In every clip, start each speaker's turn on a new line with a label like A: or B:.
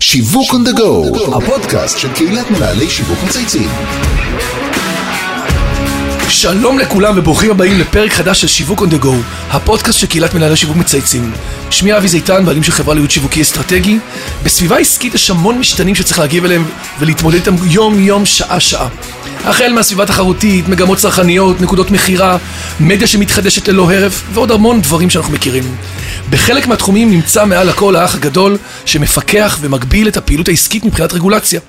A: שיווק on the go, הפודקאסט של קהילת מנהלי שיווק מצייצים.
B: שלום לכולם וברוכים הבאים לפרק חדש של שיווק on the go, הפודקאסט של קהילת מנהלי שיווק מצייצים. שמי אבי זיתן, בעלים של חברה להיות שיווקי אסטרטגי. בסביבה עסקית יש המון משתנים שצריך להגיב אליהם ולהתמודד איתם יום-יום, שעה-שעה. החל מהסביבה תחרותית, מגמות צרכניות, נקודות מכירה, מדיה שמתחדשת ללא הרף ועוד המון דברים שאנחנו מכירים. בחלק מהתחומים נמצא מעל הכל האח הגדול שמפקח ומגביל את הפעילות העסקית מבחינת רגולציה.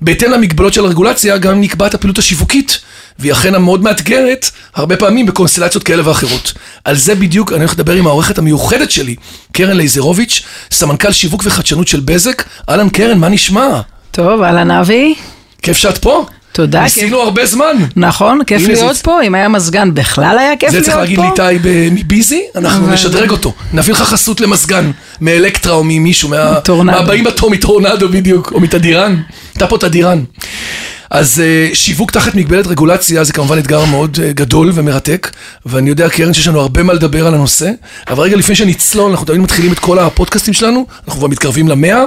B: בהתאם למגבלות של הרגולציה גם נקבעת הפעילות השיווקית, והיא אכן המאוד מאתגרת, הרבה פעמים בקונסטלציות כאלה ואחרות. על זה בדיוק אני הולך לדבר עם העורכת המיוחדת שלי, קרן לייזרוביץ', סמנכ"ל שיווק וחדשנות של בזק. אהלן קרן, מה נשמע?
C: טוב, אהלן אבי.
B: כיף שאת פה?
C: תודה,
B: ניסינו הרבה זמן.
C: נכון, כיף
B: הנה,
C: להיות
B: זה-
C: פה, אם היה מזגן בכלל היה כיף
B: זה
C: להיות פה.
B: צריך להגיד לאיתי ב- מביזי, אנחנו נשדרג אותו. נביא לך חסות למזגן, מאלקטרה או ממישהו, מה-
C: מטורנדו.
B: מהבאים בתור מטורנדו בדיוק, או מתדירן. אתה פה תדירן. אז אה, שיווק תחת מגבלת רגולציה זה כמובן אתגר מאוד אה, גדול ומרתק, ואני יודע, קרן, שיש לנו הרבה מה לדבר על הנושא, אבל רגע לפני שנצלול, אנחנו תמיד מתחילים את כל הפודקאסטים שלנו, אנחנו כבר מתקרבים למאה,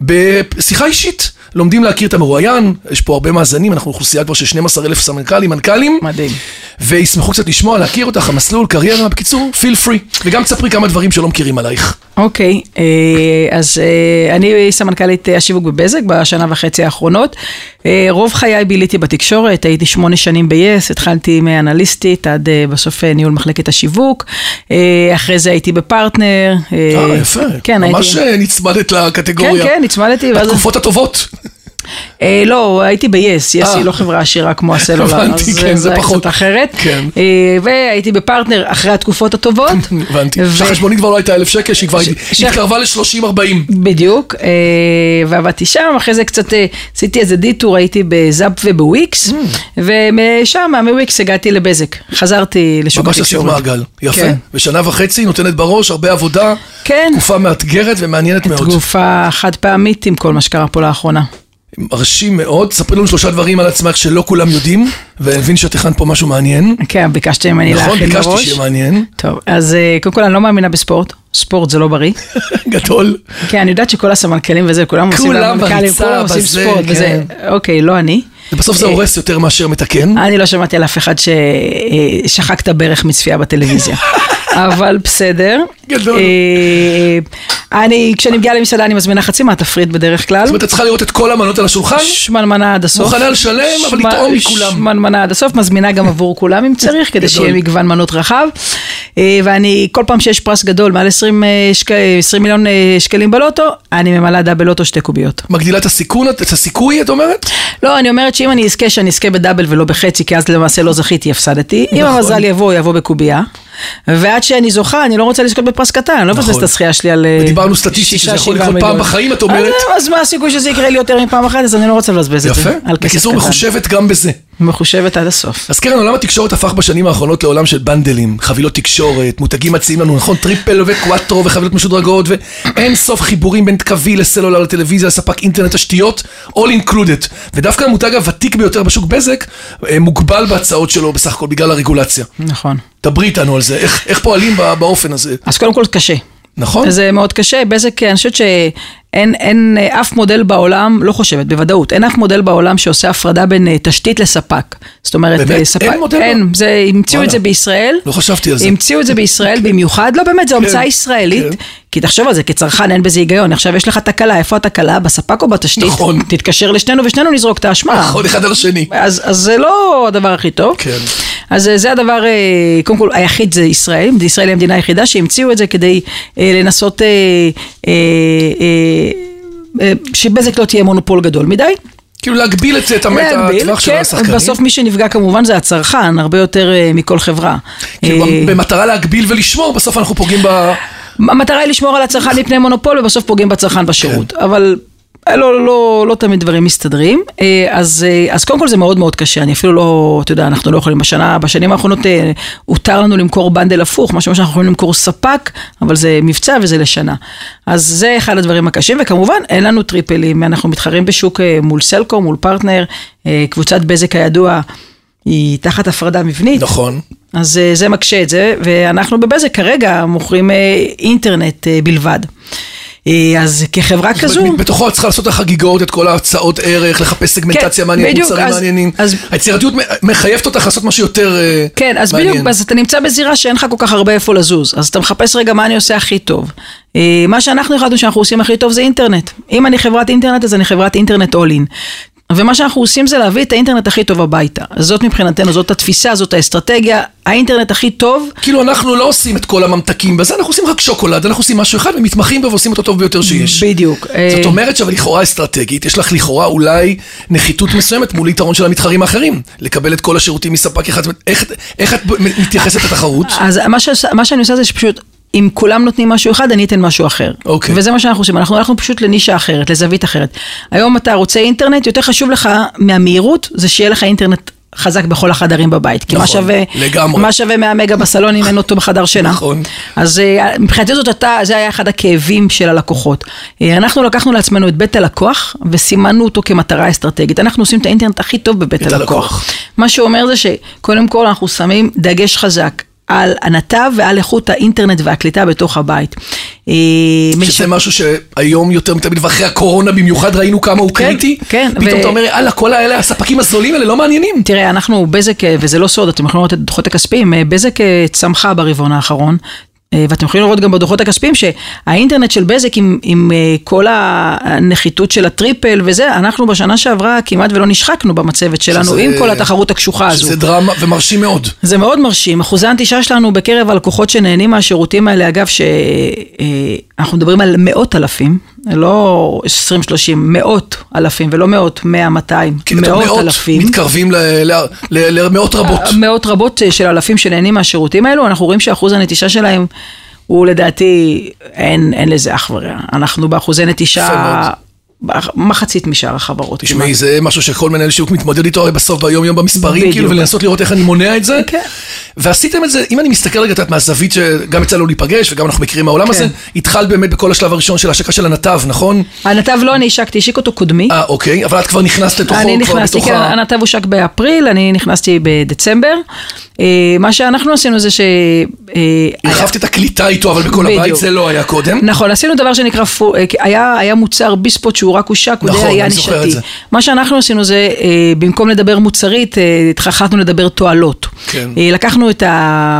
B: בשיחה אישית. לומדים להכיר את המרואיין, יש פה הרבה מאזנים, אנחנו אוכלוסייה כבר של 12,000 סמנכ"לים, מנכ"לים.
C: מדהים.
B: וישמחו קצת לשמוע, להכיר אותך, המסלול, קריירה, בקיצור, פיל פרי. וגם תספרי כמה דברים שלא מכירים עלייך.
C: אוקיי, אה, אז אה, אני סמנכ"לית אה, השיווק בבזק בשנה וחצי האחרונות. אה, רוב חיי ביליתי בתקשורת, הייתי שמונה שנים ב-yes, התחלתי מאנליסטית עד אה, בסוף אה, ניהול מחלקת השיווק. אה, אחרי זה הייתי בפרטנר.
B: אה, יפה.
C: כן, הייתי.
B: ממש אה, נצמדת
C: כן,
B: לקטגוריה.
C: כן, נצמדתי. ואז-
B: בתקופות הטובות.
C: אה, לא, הייתי ב-yes, yes
B: אה.
C: היא לא חברה עשירה כמו הסלולר,
B: הבנתי,
C: אז
B: כן,
C: אה,
B: זה
C: היה
B: פחות.
C: קצת אחרת.
B: כן.
C: אה, והייתי בפרטנר אחרי התקופות הטובות.
B: הבנתי.
C: ו-
B: שהחשבונית כבר לא הייתה אלף שקל, שהיא כבר
C: ש-
B: התקרבה ל-30-40.
C: בדיוק, אה, ועבדתי שם, אחרי זה קצת אה, עשיתי איזה דיטור, הייתי בזאפ
B: Mm.
C: ובוויקס, ומשם, מוויקס הגעתי לבזק, חזרתי לשוק
B: ממש עשית
C: התקשורת.
B: מעגל. יפה.
C: כן.
B: ושנה וחצי נותנת בראש, הרבה עבודה.
C: כן.
B: תקופה מאתגרת ומעניינת מאוד.
C: תגופה חד פעמית עם כל מה שקרה פה לאחרונה.
B: מרשים מאוד. ספרי לנו שלושה דברים על עצמך שלא כולם יודעים, ואני מבין שאת הכנת פה משהו מעניין.
C: כן, ביקשת ממני להכין
B: נכון,
C: מראש.
B: ביקשתי שיהיה מעניין.
C: טוב, אז אה, קודם כל אני לא מאמינה בספורט, ספורט זה לא בריא.
B: גדול.
C: כן, אני יודעת שכל הסמנכלים וזה, כולם עושים,
B: כולם
C: והמנכ"לים,
B: בריצה,
C: כולם עושים
B: בזה, כן.
C: ספורט וזה, אוקיי, לא אני.
B: בסוף זה
C: אה,
B: הורס יותר מאשר מתקן.
C: אני לא שמעתי על אף אחד ששחק את הברך מצפייה בטלוויזיה. אבל בסדר.
B: גדול.
C: אה, אני, כשאני מגיעה למסעדה אני מזמינה חצי מהתפריט בדרך כלל.
B: זאת אומרת, את צריכה לראות את כל המנות על השולחן,
C: שמנמנה עד הסוף.
B: מוכנה לשלם, אבל
C: שמ-
B: לטעום מכולם.
C: שמנמנה עד הסוף, מזמינה גם עבור כולם אם צריך, כדי שיהיה מגוון מנות רחב. אה, ואני, כל פעם שיש פרס גדול, מעל 20, אה, שק, 20 מיליון אה, שקלים בלוטו, אני ממלאה דאבל לוטו שתי קוביות.
B: מגדילה את הסיכון, את את הסיכוי, את אומרת?
C: לא, אני אומרת שאם אני אזכה, שאני אזכה בדאבל ולא בחצי, כי אז למעשה לא זכיתי, הפסדתי. אם
B: נכון.
C: המזל יבוא, יבוא בקובייה. ועד שאני זוכה, אני לא רוצה לזכות בפרס קטן, אני לא מבזבז את הזכייה שלי על אה,
B: נכון. ודיברנו סטטיסטית,
C: שישה,
B: שזה יכול
C: שבעה
B: לקרות פעם
C: מיליון.
B: בחיים, את אומרת?
C: אז- אז מה הסיכוי שזה יקרה לי יותר מפעם אחת, אז אני לא רוצה לבזבז את
B: יפה.
C: זה. על כסף
B: בקיצור,
C: קטן.
B: מחושבת גם בזה.
C: מחושבת עד הסוף.
B: אז קרן, עולם התקשורת הפך בשנים האחרונות לעולם של בנדלים, חבילות תקשורת, מותגים מציעים לנו, נכון? טריפל וקוואטרו וחבילות משודרגות, ואין סוף חיבורים בין קווי לסלולר, לטלוויזיה, לספק אינטרנט תשתיות, all included. ודווקא המותג הוותיק ביותר בשוק בזק, אה, מוגבל בהצעות שלו בסך הכל בגלל הרגולציה.
C: נכון.
B: דברי איתנו על זה, איך, איך פועלים בא- באופן הזה,
C: אז קודם כל קשה.
B: נכון?
C: זה מאוד קשה, בזק, אני חושבת שאין אין, אה, אף מודל בעולם, לא חושבת, בוודאות, אין אף מודל בעולם שעושה הפרדה בין אה, תשתית לספק. זאת אומרת,
B: באמת?
C: אה, ספק,
B: אין מודל?
C: אין, זה, המציאו
B: וואלה.
C: את זה בישראל.
B: לא חשבתי על זה.
C: המציאו את זה בישראל במיוחד, לא באמת, זו המצאה ישראלית.
B: כן.
C: כי תחשוב על זה, כצרכן אין בזה היגיון. עכשיו יש לך תקלה, איפה התקלה? בספק או בתשתית?
B: נכון.
C: תתקשר לשנינו ושנינו נזרוק את האשמה.
B: נכון, אחד על השני.
C: אז, אז זה לא הדבר הכי טוב.
B: כן.
C: אז אה, זה הדבר, אה, קודם כל, היחיד זה ישראל. ישראל היא המדינה היחידה שהמציאו את זה כדי אה, לנסות אה, אה, אה, אה, שבזק לא תהיה מונופול גדול מדי.
B: כאילו להגביל את זה, את המת-
C: להגביל,
B: הטווח של
C: כן,
B: השחקנים.
C: בסוף מי שנפגע כמובן זה הצרכן, הרבה יותר אה, מכל חברה.
B: כאילו,
C: אה,
B: במטרה להגביל ולשמור, בסוף אנחנו פוגעים ב...
C: המטרה היא לשמור על הצרכן מפני מונופול ובסוף פוגעים בצרכן בשירות. אבל אה, לא, לא, לא תמיד דברים מסתדרים. אה, אז, אה, אז קודם כל זה מאוד מאוד קשה, אני אפילו לא, אתה יודע, אנחנו לא יכולים בשנה, בשנים האחרונות אה, הותר לנו למכור בנדל הפוך, משהו שאנחנו יכולים למכור ספק, אבל זה מבצע וזה לשנה. אז זה אחד הדברים הקשים, וכמובן אין לנו טריפלים, אנחנו מתחרים בשוק אה, מול סלקום, מול פרטנר, אה, קבוצת בזק הידוע. היא תחת הפרדה מבנית,
B: נכון.
C: אז אה, זה מקשה את זה, ואנחנו בבזק כרגע מוכרים אה, אינטרנט אה, בלבד. אה, אה, אז כחברה כזו...
B: בתוכו את צריכה לעשות את החגיגות, את כל ההצעות ערך, לחפש סגמנטציה
C: כן,
B: מעניינת,
C: בדיוק,
B: מוצרים
C: אז-
B: מעניינים.
C: אז-
B: היצירתיות מ- מחייבת אותך לעשות משהו יותר אה,
C: כן, אז
B: מעניין.
C: בדיוק, אז אתה נמצא בזירה שאין לך כל כך הרבה איפה לזוז, אז אתה מחפש רגע מה אני עושה הכי טוב. אה, מה שאנחנו החלטנו שאנחנו עושים הכי טוב זה אינטרנט. אם אני חברת אינטרנט, אז אני חברת אינטרנט all in. ומה שאנחנו עושים זה להביא את האינטרנט הכי טוב הביתה. אז זאת מבחינתנו, זאת התפיסה, זאת האסטרטגיה, האינטרנט הכי טוב.
B: כאילו אנחנו לא עושים את כל הממתקים בזה, אנחנו עושים רק שוקולד, אנחנו עושים משהו אחד ומתמחים בו ועושים אותו טוב ביותר שיש.
C: בדיוק.
B: זאת
C: אה,
B: אומרת אבל לכאורה אסטרטגית, יש לך לכאורה אולי נחיתות מסוימת מול יתרון של המתחרים האחרים. לקבל את כל השירותים מספק אחד, זאת אומרת, איך- איך את ב- מתייחסת לתחרות?
C: אז מה, ש... מה שאני עושה זה שפשוט, אם כולם נותנים משהו אחד, אני אתן משהו אחר.
B: אוקיי.
C: וזה מה שאנחנו עושים, אנחנו הלכנו פשוט לנישה אחרת, לזווית אחרת. היום אתה רוצה אינטרנט, יותר חשוב לך מהמהירות, זה שיהיה לך אינטרנט. חזק בכל החדרים בבית, כי מה
B: נכון,
C: שווה,
B: לגמרי.
C: מה שווה 100 מגה בסלון אם אין אותו בחדר שינה.
B: נכון.
C: אז אה, מבחינתי זאת הייתה, זה היה אחד הכאבים של הלקוחות. אה, אנחנו לקחנו לעצמנו את בית הלקוח וסימנו אותו כמטרה אסטרטגית. אנחנו עושים את האינטרנט הכי טוב בבית
B: את
C: הלקוח.
B: הלקוח.
C: מה שאומר זה שקודם כל אנחנו שמים דגש חזק. על הנתב ועל איכות האינטרנט והקליטה בתוך הבית. אה, מש-
B: שזה משהו שהיום יותר מתמיד, ואחרי הקורונה במיוחד ראינו כמה הוא
C: כן,
B: קריטי.
C: כן,
B: פתאום
C: ו-
B: אתה אומר, יאללה, כל האלה, הספקים הזולים האלה לא מעניינים.
C: תראה, אנחנו בזק, אה, וזה לא סוד, אתם יכולים לראות את הדוחות הכספיים, אה, בזק אה, צמחה ברבעון האחרון. אה, ואתם יכולים לראות גם בדוחות הכספיים שהאינטרנט של בזק עם, עם אה, כל הנחיתות של הטריפל וזה, אנחנו בשנה שעברה כמעט ולא נשחקנו במצבת שלנו
B: שזה-
C: עם כל התחרות הקשוחה הזו.
B: שזה דרמה ומרשים מאוד.
C: זה מאוד מרשים. אחוזי הנטישה שלנו בקרב הלקוחות שנהנים מהשירותים האלה, אגב, שאנחנו מדברים על מאות אלפים, לא 20-30, מאות אלפים ולא מאות, 100, 200,
B: כי אתה
C: מאות
B: מאות
C: אלפים. אה,
B: מתקרבים ל- ל- ל- למאות רבות.
C: מאות רבות של אלפים שנהנים מהשירותים האלו, אנחנו רואים שאחוז הנטישה שלהם הוא לדעתי, אין, אין לזה אח ורע. אנחנו באחוזי נטישה,
B: יפה
C: באח- מחצית משאר החברות.
B: תשמעי, זה משהו שכל מנהל שיווק מתמודד איתו הרי בסוף ביום-יום במספרים,
C: בדיוק.
B: כאילו, ולנסות לראות איך אני מונע את זה.
C: כן.
B: ועשיתם את זה, אם אני מסתכל רגע, את יודעת, מהזווית שגם יצא לנו להיפגש, וגם אנחנו מכירים מהעולם
C: כן.
B: הזה, התחלת באמת בכל השלב הראשון של ההשקה של הנתב, נכון?
C: הנתב לא אני השקתי, השיק אותו קודמי.
B: אה, אוקיי, אבל את כבר נכנסת לתוכו,
C: אני
B: כבר
C: נכנסתי,
B: בתוך
C: כן,
B: ה...
C: הנתב הושק באפריל, אני נכנסתי בדצמבר. אה, מה שאנחנו עשינו זה ש... אה,
B: הרחבת את הקליטה איתו, אבל בכל
C: בדיוק.
B: הבית זה לא היה קודם.
C: נכון, עשינו דבר שנקרא, פו- אה, היה, היה מוצר ביספוט שהוא רק הושק, הוא די
B: נכון,
C: היה
B: אני זוכר את זה.
C: נישתי. מה שאנחנו עשינו זה, אה, במקום לדבר מוצרית, אה, החלטנו לדבר תועלות.
B: כן.
C: אה, לקחנו את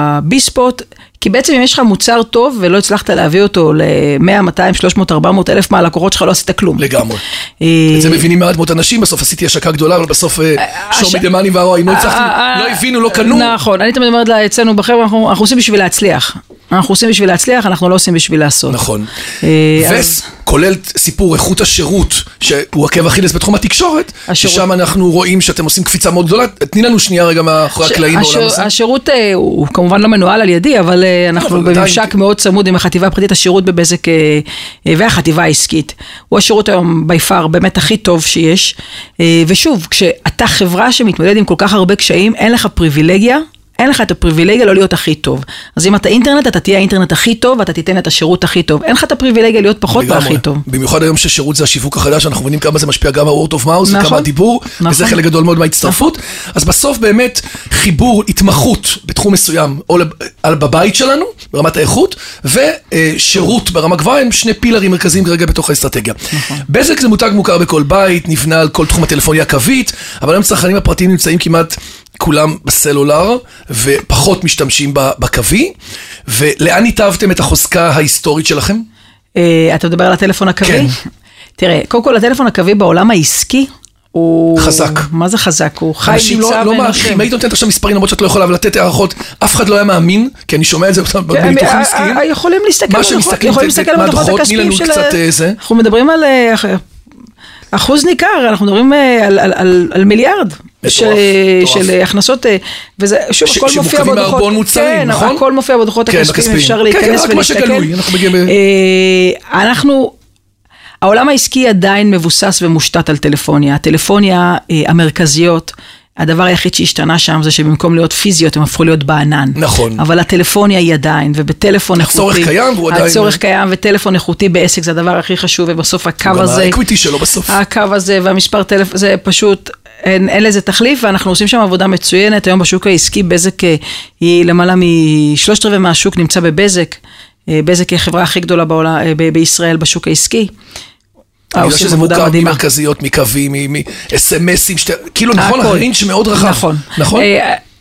C: הביספוט, כי בעצם אם יש לך מוצר טוב ולא הצלחת להביא אותו ל-100, 200, 300, 400 אלף מהלקוחות שלך, לא עשית כלום.
B: לגמרי.
C: אה,
B: את זה מבינים מעט מאוד אנשים, בסוף עשיתי השקה גדולה, אבל בסוף אה,
C: הש-
B: שור מדה מאני והרואי, לא הצלחתי,
C: אה, אה,
B: לא הבינו, לא קנו.
C: נכון, אני תמיד אומרת לה, אצלנו בחברה, אנחנו אנחנו עושים בשביל להצליח. אנחנו עושים בשביל להצליח, אנחנו לא עושים בשביל לעשות.
B: נכון.
C: אה, אז-
B: וכולל סיפור איכות השירות, שהוא עקב אכילס בתחום התקשורת,
C: השירות.
B: ששם אנחנו רואים שאתם עושים קפיצה מאוד גדולה. תני לנו שנייה רגע מאחורי
C: ש-
B: הקלעים בעולם
C: השיר-
B: הזה. כן,
C: השירות אה, הוא הוא כמובן לא מנוהל על ידי, אבל אה, אנחנו
B: אבל עדיין-
C: בממשק מאוד צמוד עם החטיבה הפרטית, השירות בבזק אה, אה, והחטיבה העסקית. הוא השירות היום בי פאר באמת הכי טוב שיש. אה, ושוב, כשאתה חברה שמתמודדת עם כל כך הרבה קשיים, אין לך פריבילגיה. אין לך את הפריבילגיה לא להיות הכי טוב. אז אם אתה אינטרנט, אתה תהיה האינטרנט הכי טוב, ואתה תיתן את השירות הכי טוב. אין לך את הפריבילגיה להיות פחות
B: לגמרי.
C: והכי טוב.
B: במיוחד היום ששירות זה השיווק החדש, אנחנו מבינים כמה זה משפיע גם ה-word of mouse,
C: נכון.
B: וכמה הדיבור, וזה
C: נכון.
B: חלק גדול מאוד מההצטרפות. אז בסוף באמת חיבור, התמחות בתחום מסוים, או לב- על- בבית שלנו, ברמת האיכות, ושירות ברמה גבוהה, הם שני פילרים מרכזיים כרגע בתוך האסטרטגיה.
C: נכון.
B: בזק זה מותג מוכר בכל בית, נבנה על כל תחום הטלפוניה הקווית, אבל היום הצרכנים הפרטיים נמצאים כמעט... כולם בסלולר ופחות משתמשים ב- בקווי, ולאן התאהבתם את החוזקה ההיסטורית שלכם?
C: אה, אתה מדבר על הטלפון הקווי?
B: כן.
C: תראה, קודם כל הטלפון הקווי בעולם העסקי הוא...
B: חזק.
C: מה זה חזק? הוא חי,
B: אנשים לא,
C: ניצב
B: לא
C: ונושם.
B: מעריכים, אם היית נותנת עכשיו מספרים למרות שאת לא יכולה, אבל לתת הערכות, אף אחד לא היה מאמין, כי אני שומע את זה
C: הם-
B: בניתוחים
C: ה-
B: עסקיים.
C: ה- ה- כן, אה, יכולים להסתכל,
B: מה
C: על הדוחות-
B: שמסתכלים,
C: יכולים
B: ת- ת-
C: להסתכל על
B: מהדוחות,
C: הדוחות
B: תני
C: הכספיים
B: לנו
C: של...
B: קצת,
C: ה-
B: אה, זה.
C: אנחנו מדברים על אה, אח- אחוז ניכר, אנחנו מדברים אה, על- על- על על מיליארד. של-
B: מטורף.
C: של אה, הכנסות, אה, וזה, שוב,
B: ש-
C: הכל מופיע
B: שמורכבים
C: בדוחות,
B: מהרבה מוצרים,
C: כן,
B: נכון?
C: הכל מופיע בדוחות
B: כן,
C: הכספיים,
B: הכספיים.
C: אפשר
B: כן, כן,
C: להיכנס
B: רק מה
C: ולהסתכל.
B: שגלוי, אנחנו מגיעים ב-
C: אה, אנחנו, העולם העסקי עדיין מבוסס ומושתת על טלפוניה. הטלפוניה אה, המרכזיות, הדבר היחיד שהשתנה שם זה שבמקום להיות פיזיות, הם הפכו להיות בענן.
B: נכון.
C: אבל הטלפוניה היא עדיין, ובטלפון
B: הצורך
C: איכותי.
B: קיים, והוא עדיין-
C: הצורך קיים, וטלפון איכותי בעסק זה הדבר הכי חשוב, ובסוף הקו
B: גם
C: הזה...
B: האקוויטי שלו בסוף.
C: הקו הזה והמספר טלפון, זה פשוט, אין, אין לזה תחליף, ואנחנו עושים שם עבודה מצוינת. היום בשוק העסקי בזק אה, היא למעלה משלושת רבעי מהשוק נמצא בבזק. אה, בזק היא החברה הכי גדולה בעולם, אה, ב- בישראל בשוק העסקי. אה,
B: בגלל
C: עושים
B: שזה
C: עבודה
B: מורכב
C: מדהימה.
B: ממרכזיות, מקווים, מאס.אם.אסים, שאתה... כאילו, נכון,
C: הכל.
B: הרינץ' מאוד רחב.
C: נכון.
B: נכון?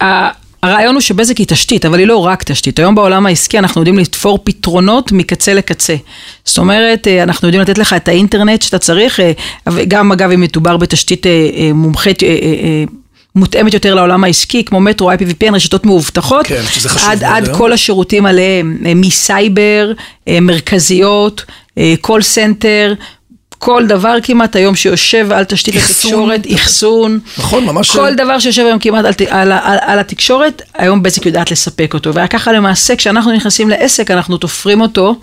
C: אה, ה- הרעיון הוא שבזק היא תשתית, אבל היא לא רק תשתית. היום בעולם העסקי אנחנו יודעים לתפור פתרונות מקצה לקצה. זאת אומרת, אה, אנחנו יודעים לתת לך את האינטרנט שאתה צריך, אה, אבל גם אגב אם מדובר בתשתית אה, אה, מומחית, אה, אה, אה, מותאמת יותר לעולם העסקי, כמו מטרו, IPVPN, רשתות מאובטחות.
B: כן, שזה חשוב
C: עד,
B: מאוד
C: עד
B: היום.
C: כל השירותים עליהם, אה, מסייבר, אה, מרכזיות, קול סנטר. כל דבר כמעט היום שיושב על תשתית
B: אחסון.
C: התקשורת, אחסון,
B: נכון, ממש-
C: כל דבר שיושב היום כמעט על, ת- על, ה- על, על התקשורת, היום בזק יודעת לספק אותו. וככה למעשה, כשאנחנו נכנסים לעסק, אנחנו תופרים אותו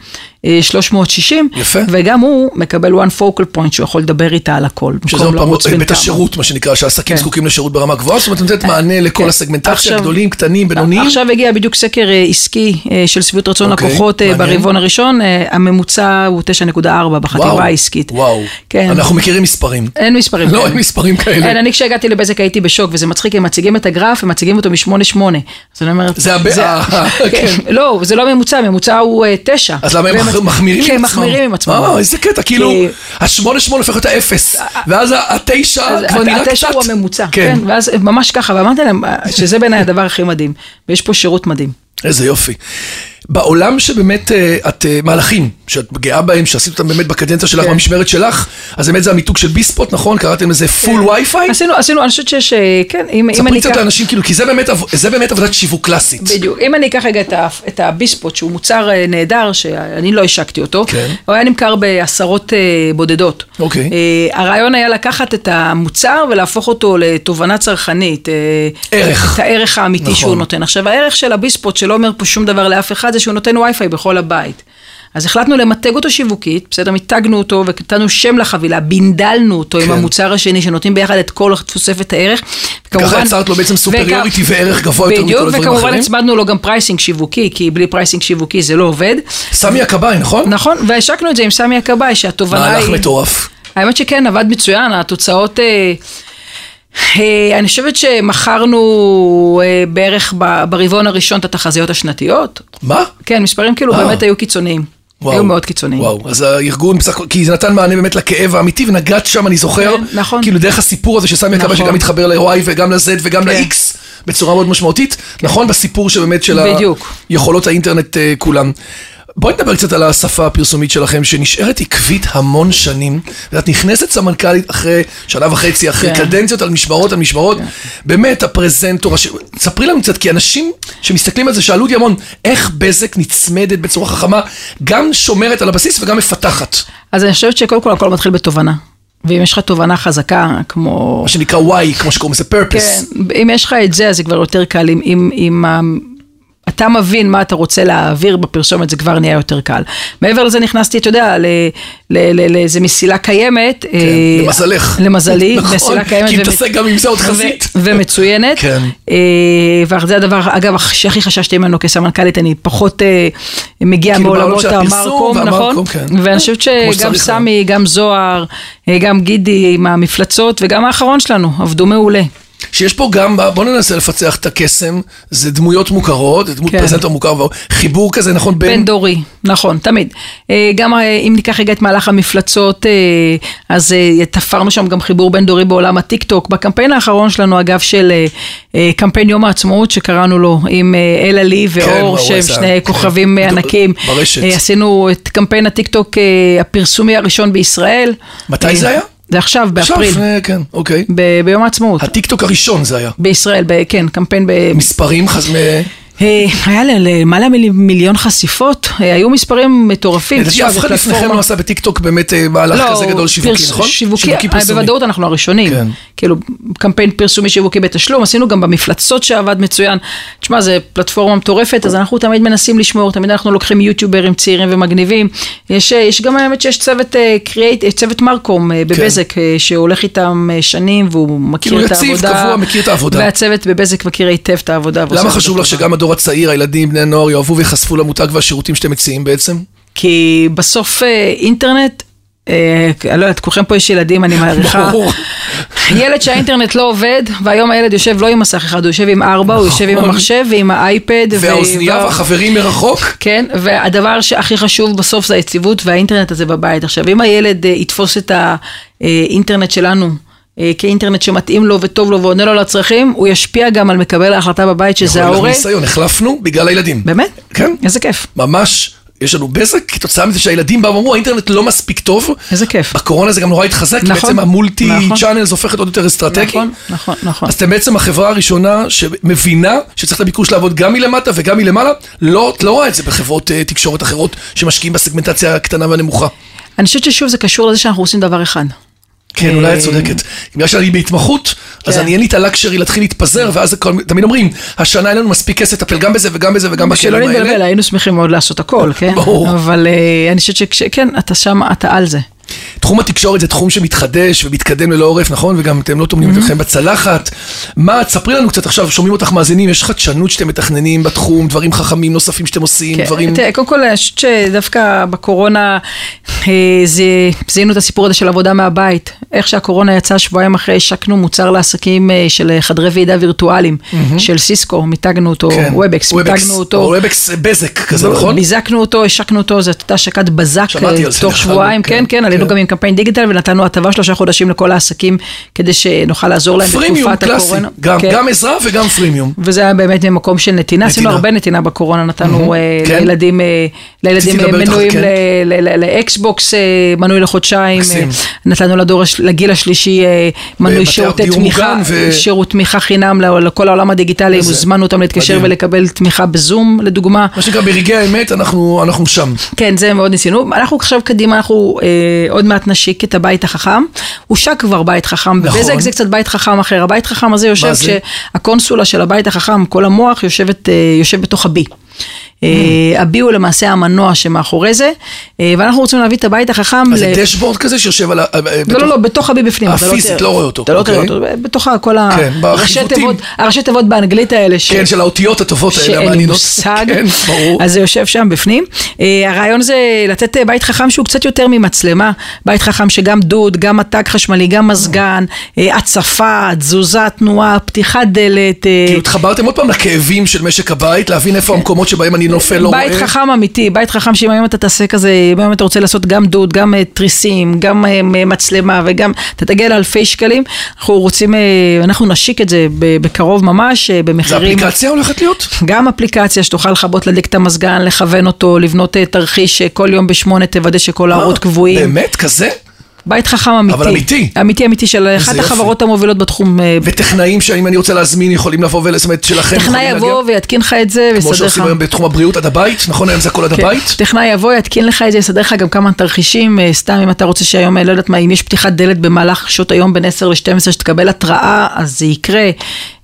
C: אה, 360,
B: יפה.
C: וגם הוא מקבל one focal point שהוא יכול לדבר איתה על הכל.
B: שזה
C: במקום
B: עוד פעם אה,
C: לרוץ בין
B: בית
C: לא כמה.
B: השירות, מה שנקרא, שהעסקים
C: כן.
B: זקוקים לשירות ברמה גבוהה, זאת אומרת, נותנת מענה לכל
C: כן.
B: הסגמנטציה,
C: עכשיו- אה,
B: גדולים, קטנים, בינוניים.
C: עכשיו הגיע בדיוק סקר אה, עסקי אה, של שביעות רצון
B: אוקיי,
C: לקוחות אה,
B: מעניין.
C: ברבעון הראשון, אה, הממוצע הוא 9.4
B: וואו,
C: בחטיבה העסקית.
B: וואו,
C: כן.
B: אנחנו מכירים מספרים.
C: אין מספרים
B: לא,
C: כאלה.
B: אין מספרים כאלה.
C: אין, כן, אני כשהגעתי לבזק הייתי בשוק, וזה מצחיק, הם מציגים את הגרף, הם מציגים אותו מ-8-8. אז אני אומרת...
B: זה הבא- אה, כן.
C: לא, זה לא ממוצע, הממוצע הוא אה, תשע.
B: אז למה הם
C: והם
B: מח-
C: מצ-
B: מחמירים
C: כן,
B: עם עצמם?
C: מחמירים עם עצמם.
B: אה, איזה קטע, כאילו,
C: כי- אה,
B: השמונה שמונה הופך להיות האפס, ואז ה- התשע
C: אז
B: כבר נראה אה, קצת.
C: התשע הוא הממוצע,
B: כן.
C: כן, ואז ממש ככה, ואמרתי להם אה, שזה בעיניי הדבר הכי מדהים, ויש פה שירות מדהים.
B: איזה יופי. בעולם שבאמת אה, את אה, מהלכים, שאת גאה בהם, שעשית אותם באמת בקדנציה שלך,
C: כן.
B: במשמרת שלך, אז באמת זה המיתוג של ביספוט, נכון? קראתם לזה פול וי-פיי?
C: עשינו, עשינו, אני חושבת שיש, אה, כן, אם אם
B: ספרי
C: כן. אני
B: קצת
C: אקח...
B: לאנשים, כאילו, כי זה באמת עב- זה באמת עבודת שיווק קלאסית.
C: בדיוק. אם אני אקח רגע את ה- את הביספוט, שהוא מוצר אה, נהדר, שאני לא השקתי אותו,
B: כן.
C: הוא היה נמכר בעשרות אה, בודדות.
B: אוקיי.
C: אה, הרעיון היה לקחת את המוצר ולהפוך אותו לתובנה צרכנית. אה,
B: ערך.
C: את הערך האמיתי
B: נכון.
C: שהוא נותן. עכשיו, הערך של הביספוט, שלא אומר פה שום דבר לאף אחד, זה שהוא נותן וי-פיי בכל הבית. אז החלטנו למתג אותו שיווקית, בסדר? מיתגנו אותו ונתנו שם לחבילה, בינדלנו אותו
B: כן.
C: עם המוצר השני, שנותנים ביחד את כל תוספת הערך. וכמובן-
B: יצרת לו בעצם
C: וכ-
B: superiority וערך גבוה יותר מכל הדברים
C: בדיוק, וכמובן
B: האחרים.
C: הצמדנו לו גם פרייסינג שיווקי, כי בלי פרייסינג שיווקי זה לא עובד.
B: סמי הכבאי, נכון?
C: נכון, והשקנו את זה עם סמי הכבאי, שהתובנה היא...
B: מהלך מטורף.
C: האמת שכן, עבד מצוין, התוצאות... אה, אה, אני חושבת שמכרנו אה, בערך ב- ברבעון הראשון את התחזיות השנתיות.
B: מה?
C: כן, מספרים כאילו
B: אה.
C: באמת היו קיצוניים.
B: וואו.
C: היו מאוד קיצוניים.
B: וואו, אז הארגון בסך הכל, כי זה נתן מענה באמת לכאב האמיתי, ונגעת שם, אני זוכר.
C: כן, נכון.
B: כאילו דרך הסיפור הזה שסמי הכבאי,
C: נכון.
B: שגם התחבר ל-Y וגם ל-Z וגם
C: כן.
B: ל-X, בצורה מאוד משמעותית, נכון? בסיפור שבאמת של ה-
C: בדיוק.
B: יכולות האינטרנט אה, כולם. בואי נדבר קצת על השפה הפרסומית שלכם, שנשארת עקבית המון שנים. ואת נכנסת סמנכ"לית אחרי שנה וחצי, אחרי
C: כן.
B: קדנציות על משמרות על משמרות. באמת, הפרזנטור, הש... ספרי לנו קצת, כי אנשים שמסתכלים על זה שאלו אותי המון, איך בזק נצמדת בצורה חכמה, גם שומרת על הבסיס וגם מפתחת.
C: אז אני חושבת שקודם כל הכל מתחיל בתובנה. ואם יש לך תובנה חזקה, כמו
B: מה שנקרא Y, כמו שקוראים לזה purpose.
C: כן, אם יש לך את זה, אז זה כבר יותר קל. אם, אם, אם ה- אתה מבין מה אתה רוצה להעביר בפרסומת, זה כבר נהיה יותר קל. מעבר לזה נכנסתי, אתה יודע, ל- ל- ל- לאיזה מסילה קיימת. כן,
B: למזלך.
C: למזלי,
B: נכון,
C: מסילה קיימת.
B: כי
C: ומת-
B: מתעסק גם עם זה עוד חזית.
C: ו- ומצוינת.
B: כן.
C: אה, וזה הדבר, אגב, שהכי חששתי ממנו כסמנכ"לית, אני פחות אה, מגיעה
B: כאילו, בעולם
C: מעולמות
B: של הפרסום
C: המרקום,
B: והמרקום,
C: נכון?
B: כן.
C: ואני חושבת
B: כמו
C: שגם
B: שצריך, כן.
C: סמי, גם זוהר, אה, גם גידי עם המפלצות, וגם האחרון שלנו, עבדו מעולה.
B: שיש פה גם, בוא ננסה לפצח את הקסם, זה דמויות מוכרות, זה דמות
C: כן.
B: פרזנטור מוכר, חיבור כזה, נכון, בין...
C: בין דורי, נכון, תמיד. אה, גם אה, אם ניקח רגע את מהלך המפלצות, אה, אז אה, תפרנו שם גם חיבור בין דורי בעולם הטיקטוק. בקמפיין האחרון שלנו, אגב, של אה, אה, קמפיין יום העצמאות שקראנו לו, עם אה, אלה לי ואור,
B: וואו,
C: שהם
B: איזה-
C: שני
B: כן.
C: כוכבים אה,
B: דו-
C: ענקים.
B: ברשת.
C: אה, עשינו את קמפיין הטיקטוק אה, הפרסומי הראשון בישראל.
B: מתי
C: אה,
B: זה היה?
C: זה עכשיו,
B: עכשיו,
C: באפריל,
B: לפני- כן, אוקיי.
C: ב- ביום העצמאות.
B: הטיקטוק הראשון זה היה.
C: בישראל, ב- כן, קמפיין ב-
B: מספרים חז...
C: אה, היה ל- למעלה ממיליון חשיפות, אה, היו מספרים מטורפים.
B: לדעתי
C: כן, תשמע,
B: אה, אף
C: זה
B: אחד לפניכם
C: פלטפורמה-
B: לא עשה בטיקטוק באמת אה, מהלך כזה גדול שיווקי,
C: פרס-
B: נכון?
C: שיווקי, אה,
B: פרסומי.
C: בוודאות אנחנו הראשונים.
B: כן.
C: כאילו, קמפיין פרסומי שיווקי בתשלום, עשינו גם במפלצות שעבד מצוין. תשמע, זו פלטפורמה מטורפת, אז אנחנו תמיד מנסים לשמור, תמיד אנחנו לוקחים יוטיוברים צעירים ומגניבים. יש, אה, יש גם האמת שיש צוות אה, קריאייט, אה, צוות מרקום אה, בבזק, אה, שהולך איתם אה, שנים, והוא מכיר
B: כן. כאילו
C: את העבודה.
B: יציב, קבוע, מכיר את העבודה.
C: והצוות בבזק מכיר היטב את העבודה. ועושה
B: למה
C: עבודה
B: חשוב לך
C: טובה.
B: שגם הדור הצעיר, הילדים, בני הנוער, יאהבו וייחשפו למותג והשירותים שאתם מציעים בעצם?
C: כי בסוף אה, אינטרנט, אה, אני לא יודעת, כולכם פה יש ילדים, אני מעריכה.
B: ברור.
C: ילד שהאינטרנט לא עובד, והיום הילד יושב לא עם מסך אחד, הוא יושב עם ארבע, הוא יושב עם
B: נכון.
C: המחשב ועם האייפד. ו-
B: והאוזנייה
C: וה-
B: והחברים מרחוק?
C: כן, והדבר שהכי חשוב בסוף זה היציבות והאינטרנט הזה בבית. עכשיו, אם הילד אה, יתפוס את האינטרנט שלנו אה, כאינטרנט שמתאים לו וטוב לו ועונה לו לצרכים, הוא ישפיע גם על מקבל ההחלטה בבית שזה
B: אנחנו
C: ההורה.
B: ניסיון, החלפנו בגלל הילדים.
C: באמת?
B: כן.
C: איזה כיף.
B: ממש, יש לנו בזק כתוצאה מזה שהילדים באו ואמרו, האינטרנט לא מספיק טוב.
C: איזה כיף.
B: בקורונה זה גם נורא התחזק, כי
C: נכון,
B: בעצם המולטי
C: נכון.
B: צ'אנלס הופכת עוד יותר אסטרטגי.
C: נכון, נכון, נכון.
B: אז אתם בעצם החברה הראשונה שמבינה שצריך את הביקוש לעבוד גם מלמטה וגם מלמעלה. לא, את לא רואה את זה בחברות אה, תקשורת אחרות שמשקיעים בסגמנטציה הקטנה והנמוכה.
C: אני חושבת ששוב זה קשור לזה שאנחנו עושים דבר אחד.
B: כן, אולי את צודקת. בגלל שאני בהתמחות, אז
C: אה, כן.
B: אני אין לי את הלקשרי להתחיל להתפזר, ואז זה כל- תמיד אומרים, השנה אין לנו מספיק כסף לטפל גם בזה וגם בזה וגם
C: שלא
B: בכלים האלה.
C: נתבלבל, היינו שמחים מאוד לעשות הכל, כן?
B: ברור.
C: אבל אה, אני חושבת שכן, אתה שם, אתה על זה.
B: תחום התקשורת זה תחום שמתחדש ומתקדם ללא עורף, נכון? וגם אתם לא
C: Mm-hmm.
B: טומנים את ידכם בצלחת. מה, תספרי לנו קצת עכשיו, שומעים אותך מאזינים, יש חדשנות שאתם מתכננים בתחום, דברים חכמים נוספים שאתם עושים,
C: כן,
B: דברים...
C: תראה, קודם כל, אני חושבת שדווקא בקורונה אה, זה- זיהינו את הסיפור הזה של עבודה מהבית. איך שהקורונה יצאה שבועיים אחרי, השקנו מוצר לעסקים אה, של אה, חדרי ועידה וירטואליים, של סיסקו, מיתגנו אותו,
B: כן.
C: וובקס, מיתגנו
B: או
C: אותו.
B: וובקס אה, בזק כזה, נכון?
C: ביזקנו לא, אותו, השקנו אותו, זו הייתה השקת בזק
B: שמעתי
C: אה,
B: על זה,
C: תוך
B: דרך
C: שבועיים,
B: אגב,
C: כן,
B: כן,
C: כן, עלינו
B: כן.
C: גם עם קמפיין דיגיטל ונתנו הטבה שלושה חודשים לכל העסקים כדי שנוכל לעזור להם
B: פרימיום
C: בתקופת
B: קלאסי,
C: הקורונה.
B: גם-
C: כן.
B: גם עזרה וגם פרימיום.
C: וזה היה באמת ממקום של נתינה, עשינו
B: נתינה.
C: הרבה נתינה בקורונה, נתנו אה,
B: כן.
C: לילדים אה, לילדים
B: רציתי
C: אה,
B: לדבר איתך,
C: מנויים
B: כן.
C: ל- ל- ל- לאקסבוקס, אה, מנוי לחודשיים, אה,
B: מקסים.
C: נתנו לדור הש- לגיל השלישי אה, מנוי
B: בבתי-
C: שירותי
B: דיור
C: תמיכה,
B: מוגן ו-
C: שירות תמיכה חינם ל- לכל העולם הדיגיטלי,
B: איזה-
C: הוזמנו אותם להתקשר
B: מדהים.
C: ולקבל תמיכה בזום, לדוגמה.
B: מה שנקרא, ברגעי האמת, אנחנו אנחנו שם.
C: כן, זה מאוד ניסינו. אנחנו עכשיו קדימה, אנחנו אה, עוד מעט נשיק את הבית החכם. הושק כבר בית חכם,
B: נכון.
C: בבזק זה קצת בית חכם אחר. הבית חכם הזה יושב
B: זה?
C: כשהקונסולה של הבית החכם, כל המוח, יושבת, אה, יושב בתוך הבי.
B: Mm.
C: אה, הבי הוא למעשה המנוע שמאחורי זה, אה, ואנחנו רוצים להביא את הבית החכם
B: אז זה
C: ל-
B: דשבורד כזה שיושב על ה... אה, אה,
C: לא,
B: בתוך-
C: לא, לא, בתוך הבי בפנים. אתה
B: הפיזית,
C: תראה-
B: לא רואה אותו,
C: אתה לא תראה
B: אוקיי.
C: אותו, בתוך כל ה-
B: כן,
C: הראשי
B: בחיווטים.
C: תיבות- הראשי תיבות באנגלית האלה. ש-
B: כן, של האותיות הטובות האלה,
C: שאין לי
B: המעניינות.
C: מושג,
B: כן, ברור.
C: אז זה יושב שם בפנים. אה, הרעיון זה לתת אה, בית חכם שהוא קצת יותר ממצלמה, בית חכם שגם דוד, גם מתג חשמלי, גם מזגן, אה, הצפה, תזוזה, תנועה, פתיחת דלת. אה, כן.
B: כאילו התחברתם עוד פעם לכאבים של משק הבית, להבין איפה המקומות שבהם אני נופל, לא רואה.
C: בית חכם אמיתי, בית חכם שאם היום אתה תעשה כזה, אם היום אתה רוצה לעשות גם דוד, גם אה, תריסים, גם אה, מ- מצלמה וגם, אתה תגיע לאלפי שקלים, אנחנו רוצים, אה, אנחנו נשיק את זה ב- בקרוב ממש, אה,
B: זה
C: במחירים
B: אפליקציה הולכת להיות?
C: גם אפליקציה שתוכל לכבות, להדליק את המזגן, לכוון אותו, לבנות אה, תרחיש אה, כל יום בשמונה, תוודא שכל האורות
B: אה,
C: קבועים.
B: באמת? כזה?
C: בית חכם אמיתי.
B: אבל אמיתי.
C: אמיתי אמיתי של אחת
B: יופי.
C: החברות המובילות בתחום. אה,
B: וטכנאים שאם אני רוצה להזמין יכולים לבוא ול... זאת אומרת שלכם יכולים
C: טכנאי
B: להגיע?
C: יבוא ויתקין לך את זה
B: כמו
C: ויסדר לך.
B: שעושים היום בתחום הבריאות עד הבית, נכון? היום זה הכל עד
C: כן.
B: הבית?
C: טכנאי יבוא, יתקין לך את זה, יסדר לך גם כמה תרחישים, אה, סתם אם אתה רוצה שהיום, אה, לא יודעת מה, אם יש פתיחת דלת במהלך שעות היום בין 10 ל-12, שתקבל התראה, אז זה יקרה.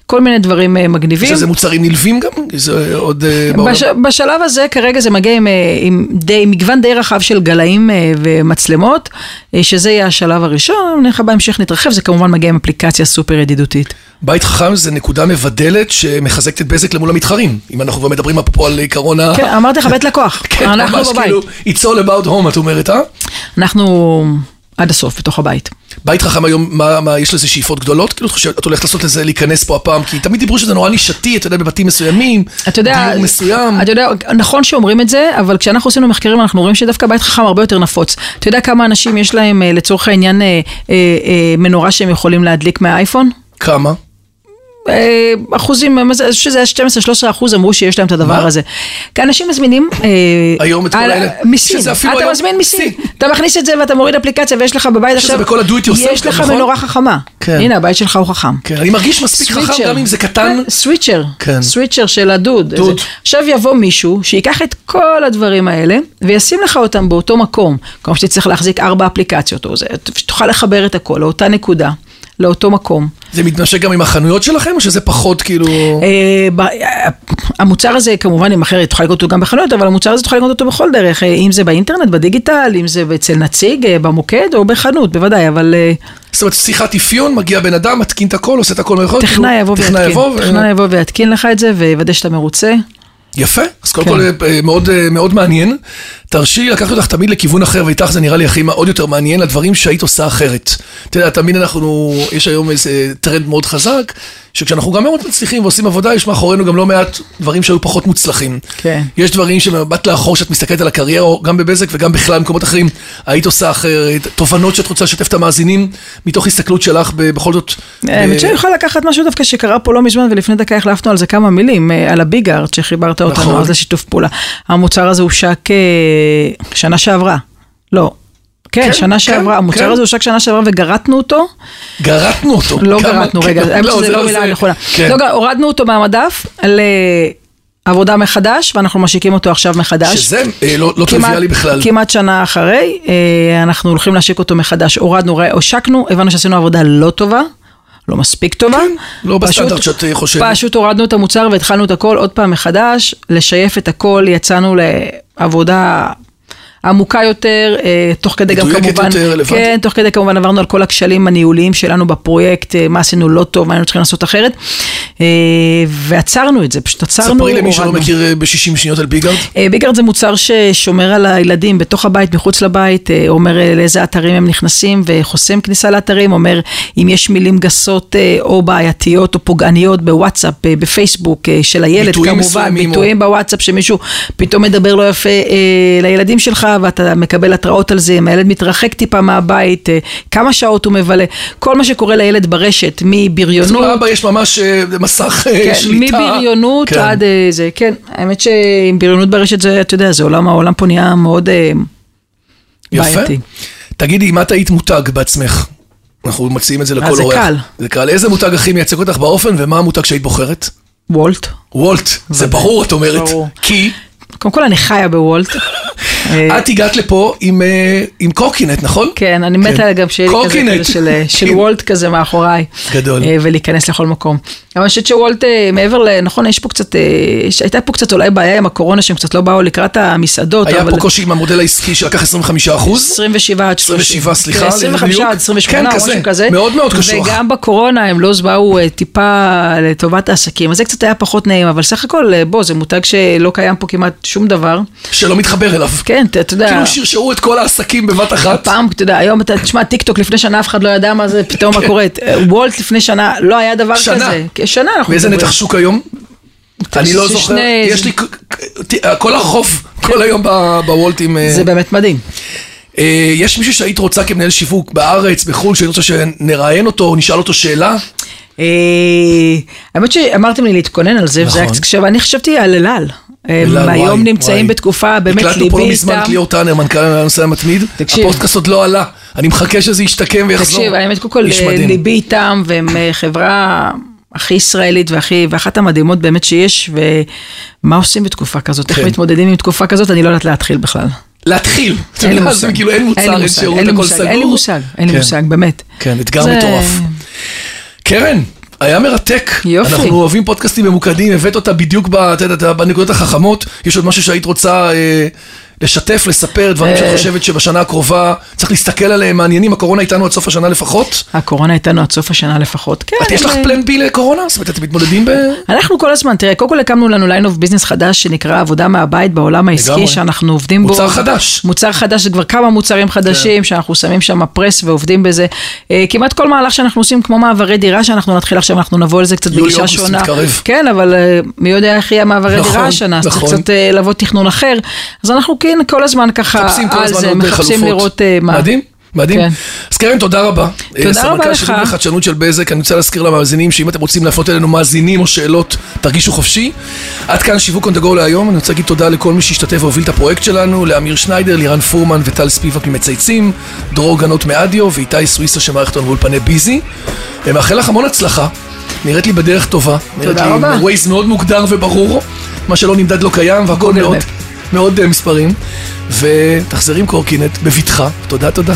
C: כל מיני דברים אה,
B: יש
C: מגניבים.
B: לזה מוצרים נלווים גם? זה עוד אה, בעולם?
C: בש, בשלב הזה כרגע זה מגיע עם, אה, עם די, מגוון די רחב של גלאים אה, ומצלמות, אה, שזה יהיה השלב הראשון, אני לך בהמשך נתרחב, זה כמובן מגיע עם אפליקציה סופר ידידותית.
B: בית חכם זה נקודה מבדלת שמחזקת את בזק למול המתחרים. אם אנחנו כבר מדברים אפרופו על עיקרון ה...
C: כן, אמרתי לך, בית לקוח,
B: כן,
C: אנחנו
B: ממש
C: בבית,
B: כאילו, it's all about home, את אומרת, אה?
C: אנחנו עד הסוף בתוך הבית.
B: בית חכם היום, מה, מה, יש לזה שאיפות גדולות? כאילו, את חושבת, את הולכת לעשות לזה, להיכנס פה הפעם, כי תמיד דיברו שזה נורא נישתי, אתה יודע, בבתים מסוימים,
C: אתה יודע,
B: דיור מסוים.
C: אתה יודע, נכון שאומרים את זה, אבל כשאנחנו עשינו מחקרים אנחנו רואים שדווקא בית חכם הרבה יותר נפוץ. אתה יודע כמה אנשים יש להם אה, לצורך העניין אה, אה, אה, מנורה שהם יכולים להדליק מהאייפון?
B: כמה?
C: אה, אחוזים, מה זה- שזה היה 12-13 אחוז אמרו שיש להם את הדבר
B: מה?
C: הזה. כי אנשים מזמינים... אה,
B: היום את כל
C: על-
B: האלה.
C: מסין.
B: שזה אפילו
C: אתה
B: היום
C: מזמין מסין.
B: סין.
C: אתה מכניס את זה ואתה מוריד אפליקציה ויש לך בבית
B: שזה
C: עכשיו...
B: בכל ה-do it yourself
C: יש
B: גם,
C: לך
B: נכון?
C: מנורה חכמה.
B: כן.
C: הנה, הבית שלך הוא חכם.
B: כן, אני מרגיש מספיק חכם, גם אם זה קטן.
C: כן, סוויצ'ר,
B: כן.
C: סוויצ'ר של הדוד.
B: דוד.
C: איזה- עכשיו יבוא מישהו שיקח את כל הדברים האלה וישים לך אותם באותו מקום, כמו שתצטרך להחזיק ארבע אפליקציות או זה, שתוכל לחבר את הכל לאותה נקודה, לאותו מקום.
B: זה מתנשק גם עם החנויות שלכם, או שזה פחות כאילו...
C: כן. אה, ב- אה, המוצר הזה כמובן ימכר, תוכל לקנות אותו גם בחנויות, אבל המוצר הזה תוכל לקנות אותו בכל דרך, אה, אם זה באינטרנט, בדיגיטל, אם זה אצל נציג, אה, במוקד או בחנות, בוודאי, אבל אה,
B: זאת אומרת, שיחת אפיון, מגיע בן אדם, מתקין את הכל, עושה את הכל מרחוק.
C: טכנאי יבוא
B: אוקיי, טכנאי
C: ויתקין.
B: יבוא. ו-
C: טכנאי יבוא ויתקין לך את זה ויוודא שאתה מרוצה.
B: יפה, אז קודם
C: כן.
B: כל אה, מאוד, אה, מאוד מעניין. תרשי לי לקחת אותך תמיד לכיוון אחר, ואיתך זה נראה לי הכי עוד יותר מעניין, לדברים שהיית עושה אחרת. אתה יודע, תמיד אנחנו, יש היום איזה טרנד מאוד חזק, שכשאנחנו גם מאוד מצליחים ועושים עבודה, יש מאחורינו גם לא מעט דברים שהיו פחות מוצלחים.
C: כן.
B: יש דברים שבמבט לאחור, שאת מסתכלת על הקריירה, או גם בבזק וגם בכלל במקומות אחרים, היית עושה אחרת, תובנות שאת רוצה לשתף את המאזינים, מתוך הסתכלות שלך ב- בכל זאת. אה,
C: האמת שאני יכולה לקחת משהו דווקא שקרה פה לא מזמן, ולפני דקה החלפנו על זה כמה מילים, אה, על הביגארד שחיברת
B: נכון.
C: אותנו אז לשיתוף פעולה. המוצר הזה הושק אה, שנה שעברה. לא.
B: כן,
C: כן,
B: כן,
C: שנה שעברה,
B: כן.
C: המוצר הזה הושק שנה שעברה וגרטנו אותו,
B: גרטנו אותו.
C: לא
B: כמה-
C: גרטנו, רגע,
B: כן,
C: האמת שזה לא מילה
B: זה.
C: נכונה.
B: כן.
C: לא גר- הורדנו אותו מהמדף לעבודה מחדש, ואנחנו משיקים אותו עכשיו מחדש.
B: שזה אה, לא לא
C: כמעט-
B: טריוויאלי בכלל.
C: כמעט שנה אחרי, אה, אנחנו הולכים להשיק אותו מחדש. הורדנו, רא- הושקנו, הבנו שעשינו עבודה לא טובה, לא מספיק טובה.
B: לא
C: פשוט-
B: בסטנדרט שאת, אה, חושבת.
C: פשוט הורדנו את המוצר והתחלנו את הכל עוד פעם מחדש, לשייף את הכל, יצאנו לעבודה... עמוקה יותר, אה, תוך כדי גם
B: מדויקת
C: כמובן,
B: יותר, רלוונטית.
C: כן, תוך כדי כמובן עברנו על כל הכשלים הניהוליים שלנו בפרויקט, אה, מה עשינו לא טוב, מה היינו צריכים לעשות אחרת, אה, ועצרנו את זה, פשוט עצרנו,
B: ספרי למי שלא
C: הורדנו.
B: מכיר אה, ב-60 שניות על ביגארד.
C: אה, ביגארד זה מוצר ששומר על הילדים בתוך הבית, מחוץ לבית, אה, אומר אה, לאיזה אתרים הם נכנסים וחוסם כניסה לאתרים, אומר אם יש מילים גסות אה, או בעייתיות או פוגעניות בוואטסאפ, אה, בפייסבוק אה, של הילד,
B: ביטויים
C: כמובן,
B: מסוימים או-
C: ביטויים בוואטסאפ שמישהו פתאום מדבר לא יפה אה, לילדים שלך ואתה מקבל התראות על זה, אם הילד מתרחק טיפה מהבית, אה, כמה שעות הוא מבלה, כל מה שקורה לילד ברשת,
B: אז
C: מבריונות.
B: לאבא יש ממש אה, מסך אה,
C: כן,
B: שליטה.
C: מבריונות
B: כן.
C: עד אה, זה, כן. האמת שעם בריונות ברשת זה, אתה יודע, זה עולם, העולם פה נהיה מאוד אה, בעייתי.
B: יפה. תגידי, אם את היית מותג בעצמך, אנחנו מציעים את זה
C: אה,
B: לכל
C: זה
B: אורח.
C: קל.
B: זה קל. איזה מותג הכי מייצג אותך באופן, ומה המותג שהיית בוחרת?
C: וולט.
B: וולט. זה
C: ודאי.
B: ברור, את אומרת.
C: ברור.
B: כי
C: קודם כל אני חיה בוולט. אה,
B: את הגעת לפה עם, אה, עם קורקינט, נכון?
C: כן, אני מתה גם שיהיה לי כזה
B: קורקינט.
C: כאילו של, אה, של
B: כן.
C: וולט כזה מאחוריי.
B: גדול.
C: אה, ולהיכנס לכל מקום. אבל אני חושבת שוולט, אה, מעבר ל... נכון, יש פה קצת... אה, יש- הייתה פה קצת אולי בעיה עם הקורונה, שהם קצת לא באו לקראת המסעדות.
B: היה
C: אבל-
B: פה קושי עם המודל העסקי שלקח 25 אחוז.
C: 27 עד 30.
B: 27, סליחה,
C: כן, 25
B: בדיוק.
C: עד 28
B: כן,
C: או
B: כזה.
C: משהו כזה.
B: מאוד מאוד קשוח.
C: וגם בקורונה הם לא באו אה, טיפה לטובת העסקים, אז זה קצת היה פחות נעים, אבל סך הכל, אה, בוא, זה מותג שלא קיים פה כמעט שום דבר.
B: שלא מתחבר אליו.
C: כן, אתה- אתה יודע...
B: כאילו שרשרו את כל העסקים בבת אחת.
C: פעם, אתה יודע, היום אתה, תשמע, טיק טוק לפני שנה אף אחד לא ידע מה זה, פתאום מה קורה. אה, וולט לפני שנה, לא היה דבר
B: כן. שנה.
C: כזה. כן, שנה אנחנו
B: מאיזה
C: מדברים.
B: נתח שוק היום? אני לא
C: זה
B: זוכר,
C: שני-
B: יש לי ק- ק- ת- כל הרחוב, כל היום ב- בוולט עם... אה,
C: זה באמת מדהים.
B: אה, יש מישהו שהיית רוצה כמנהל שיווק בארץ, בחו"ל, שהיית רוצה שנראיין אותו, או נשאל אותו שאלה?
C: אה, האמת שאמרתם לי להתכונן על זה, וזה היה
B: נכון.
C: קצת קשה, ואני חשבתי על אל על. הם
B: אלעד,
C: היום
B: וואי,
C: נמצאים
B: וואי.
C: בתקופה, באמת ליבי איתם.
B: הקלטנו פה לא מזמן את ליאור טאנר, מנכ"ל הנושא המתמיד.
C: תקשיב.
B: הפודקאסט עוד לא עלה. אני מחכה שזה ישתקם ויחזור.
C: תקשיב, האמת, קודם כל,
B: לא איש
C: אה,
B: מדהים.
C: ליבי איתם, והם אה, חברה הכי ישראלית והכי, ואחת המדהימות באמת שיש, ומה עושים בתקופה כזאת? איך
B: כן.
C: מתמודדים עם תקופה כזאת? אני לא יודעת להתחיל בכלל.
B: להתחיל. אתה
C: אין לי
B: יודע,
C: מושג.
B: זה כאילו אין
C: אין לי
B: מוצר, אין
C: מושג,
B: שירות,
C: אין לי
B: הכל
C: מושג,
B: סגור.
C: אין לי מושג, אין לי
B: כן.
C: מושג, באמת.
B: כן, אתגר
C: זה-
B: מטורף. קרן, היה מרתק.
C: יופי.
B: אנחנו אוהבים פודקאסטים ממוקדים, הבאת אותה בדיוק ב- אתה יודעת, בנקודות החכמות. יש עוד משהו שהיית רוצה אה, לשתף, לספר, דברים שאת
C: אה.
B: חושבת שבשנה הקרובה צריך להסתכל עליהם מעניינים. הקורונה איתנו עד סוף השנה לפחות.
C: הקורונה איתנו עד סוף השנה לפחות. כן,
B: את יש לך
C: אבל-
B: פלן בי לקורונה? זאת אומרת, אתם מתמודדים ב...
C: אנחנו כל הזמן, תראה, קודם כל הקמנו לנו ליין אוף ביזנס חדש שנקרא עבודה מהבית בעולם
B: לגמרי.
C: העסקי שאנחנו עובדים בו.
B: מוצר חדש. כן.
C: מוצר חדש, זה כבר כמה מוצרים חדשים שאנחנו שמים שם פרס ועובדים בזה. אה, כמעט כל מהלך שאנחנו עושים, כמו מעברי דירה שאנחנו נתחיל עכשיו, אנחנו נבוא על זה קצת
B: יולי,
C: בגישה
B: אוגוסט
C: שונה.
B: מתקרב.
C: כן, אבל אה, מי יודע איך יהיה מעברי
B: נכון,
C: דירה השנה, אז צריך
B: נכון.
C: קצת אה, לבוא תכנון אחר. אז אנחנו כן כל הזמן ככה
B: מחפשים כל
C: על
B: הזמן
C: זה,
B: עוד
C: מחפשים
B: חלופות.
C: לראות אה, מה.
B: מדהים. מדהים.
C: כן.
B: אז קרן, תודה רבה.
C: תודה
B: אה, סמנכ"ל
C: רבה
B: שיווק
C: לך.
B: וחדשנות של בזק, אני רוצה להזכיר למאזינים שאם אתם רוצים להפנות אלינו מאזינים או שאלות, תרגישו חופשי. עד כאן שיווק on the go להיום, אני רוצה להגיד תודה לכל מי שהשתתף והוביל את הפרויקט שלנו, לאמיר שניידר, לירן פורמן וטל ספיבק ממצייצים, דרור גנות מאדיו ואיתי סוויסה של מערכת ואולפני ביזי. אני מאחל לך המון הצלחה, נראית לי בדרך טובה. נראית
C: תודה
B: לי
C: רבה.
B: עם ווייז מאוד מוגדר וברור, מה שלא נמדד לא קיים, והכל
C: גוגל
B: מאוד,
C: מפ.
B: מאוד אה, מספרים. ותחזרי עם קורקינט בבטחה. תודה, תודה.